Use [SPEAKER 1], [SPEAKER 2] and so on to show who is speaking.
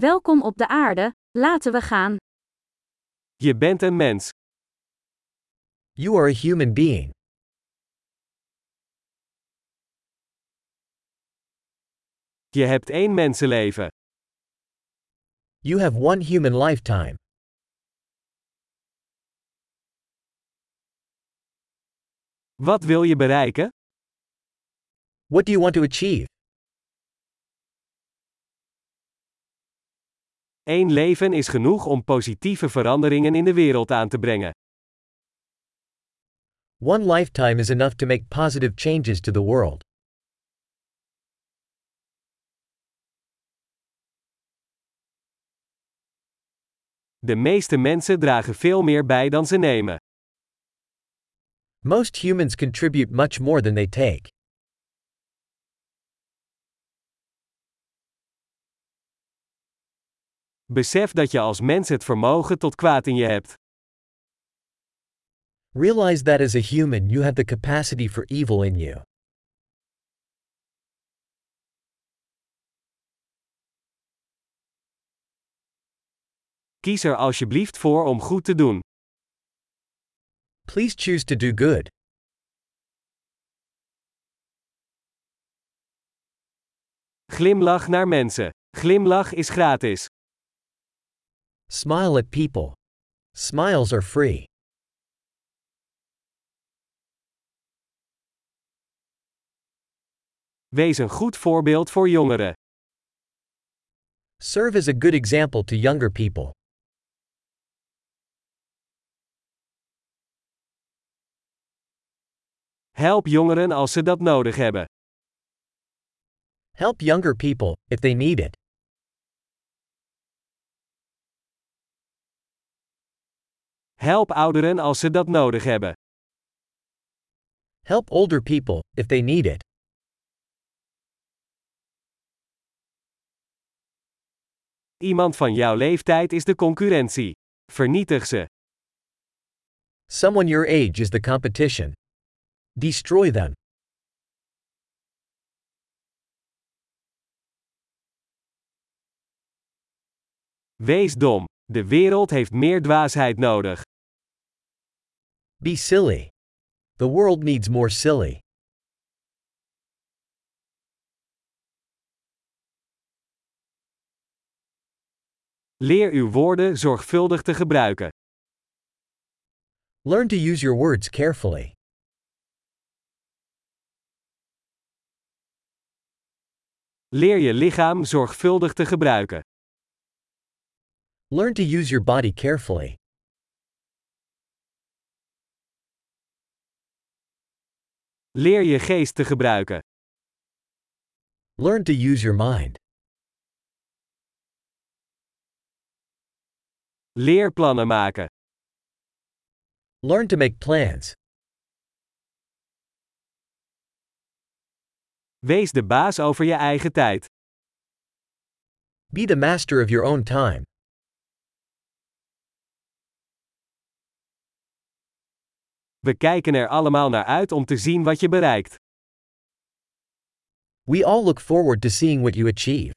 [SPEAKER 1] Welkom op de aarde, laten we gaan.
[SPEAKER 2] Je bent een mens.
[SPEAKER 3] You are a human being.
[SPEAKER 2] Je hebt één mensenleven.
[SPEAKER 3] You have one human lifetime.
[SPEAKER 2] Wat wil je bereiken?
[SPEAKER 3] What do you want to achieve?
[SPEAKER 2] Eén leven is genoeg om positieve veranderingen in de wereld aan te brengen.
[SPEAKER 3] One lifetime is enough to make positive changes to the world.
[SPEAKER 2] De meeste mensen dragen veel meer bij dan ze nemen.
[SPEAKER 3] Most humans contribute much more than they take.
[SPEAKER 2] Besef dat je als mens het vermogen tot kwaad in je hebt.
[SPEAKER 3] Realize that as a human you have the capacity for evil in you.
[SPEAKER 2] Kies er alsjeblieft voor om goed te doen.
[SPEAKER 3] Please choose to do good.
[SPEAKER 2] Glimlach naar mensen. Glimlach is gratis.
[SPEAKER 3] Smile at people. Smiles are free.
[SPEAKER 2] Wees een goed voorbeeld voor jongeren.
[SPEAKER 3] Serve as a good example to younger people.
[SPEAKER 2] Help jongeren als ze dat nodig hebben.
[SPEAKER 3] Help younger people if they need it.
[SPEAKER 2] Help ouderen als ze dat nodig hebben.
[SPEAKER 3] Help older people if they need it.
[SPEAKER 2] Iemand van jouw leeftijd is de concurrentie. Vernietig ze.
[SPEAKER 3] Someone your age is the competition. Destroy them.
[SPEAKER 2] Wees dom. De wereld heeft meer dwaasheid nodig.
[SPEAKER 3] Be silly. The world needs more silly.
[SPEAKER 2] Leer uw woorden zorgvuldig te gebruiken.
[SPEAKER 3] Learn to use your words carefully.
[SPEAKER 2] Leer je lichaam zorgvuldig te gebruiken.
[SPEAKER 3] Learn to use your body carefully.
[SPEAKER 2] Leer je geest te gebruiken.
[SPEAKER 3] Learn to use your mind.
[SPEAKER 2] Leer plannen maken.
[SPEAKER 3] Learn to make plans.
[SPEAKER 2] Wees de baas over je eigen tijd.
[SPEAKER 3] Be the master of your own time.
[SPEAKER 2] We kijken er allemaal naar uit om te zien wat je bereikt.
[SPEAKER 3] We all look forward to seeing what you achieve.